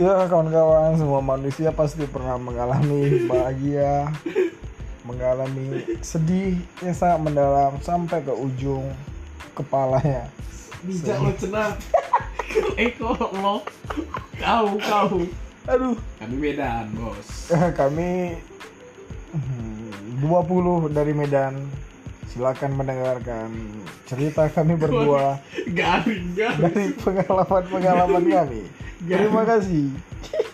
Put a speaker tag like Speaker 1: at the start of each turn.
Speaker 1: Ya kawan-kawan semua manusia pasti pernah mengalami bahagia Mengalami sedih yang sangat mendalam sampai ke ujung kepalanya
Speaker 2: Bijak lo cenah. Eko Eh, lo. Kau kau.
Speaker 1: Aduh
Speaker 2: Kami Medan bos.
Speaker 1: Eh, kami hmm, 20 dari Medan Silakan mendengarkan cerita kami berdua
Speaker 2: Garing garing.
Speaker 1: dari pengalaman-pengalaman kami Terima kasih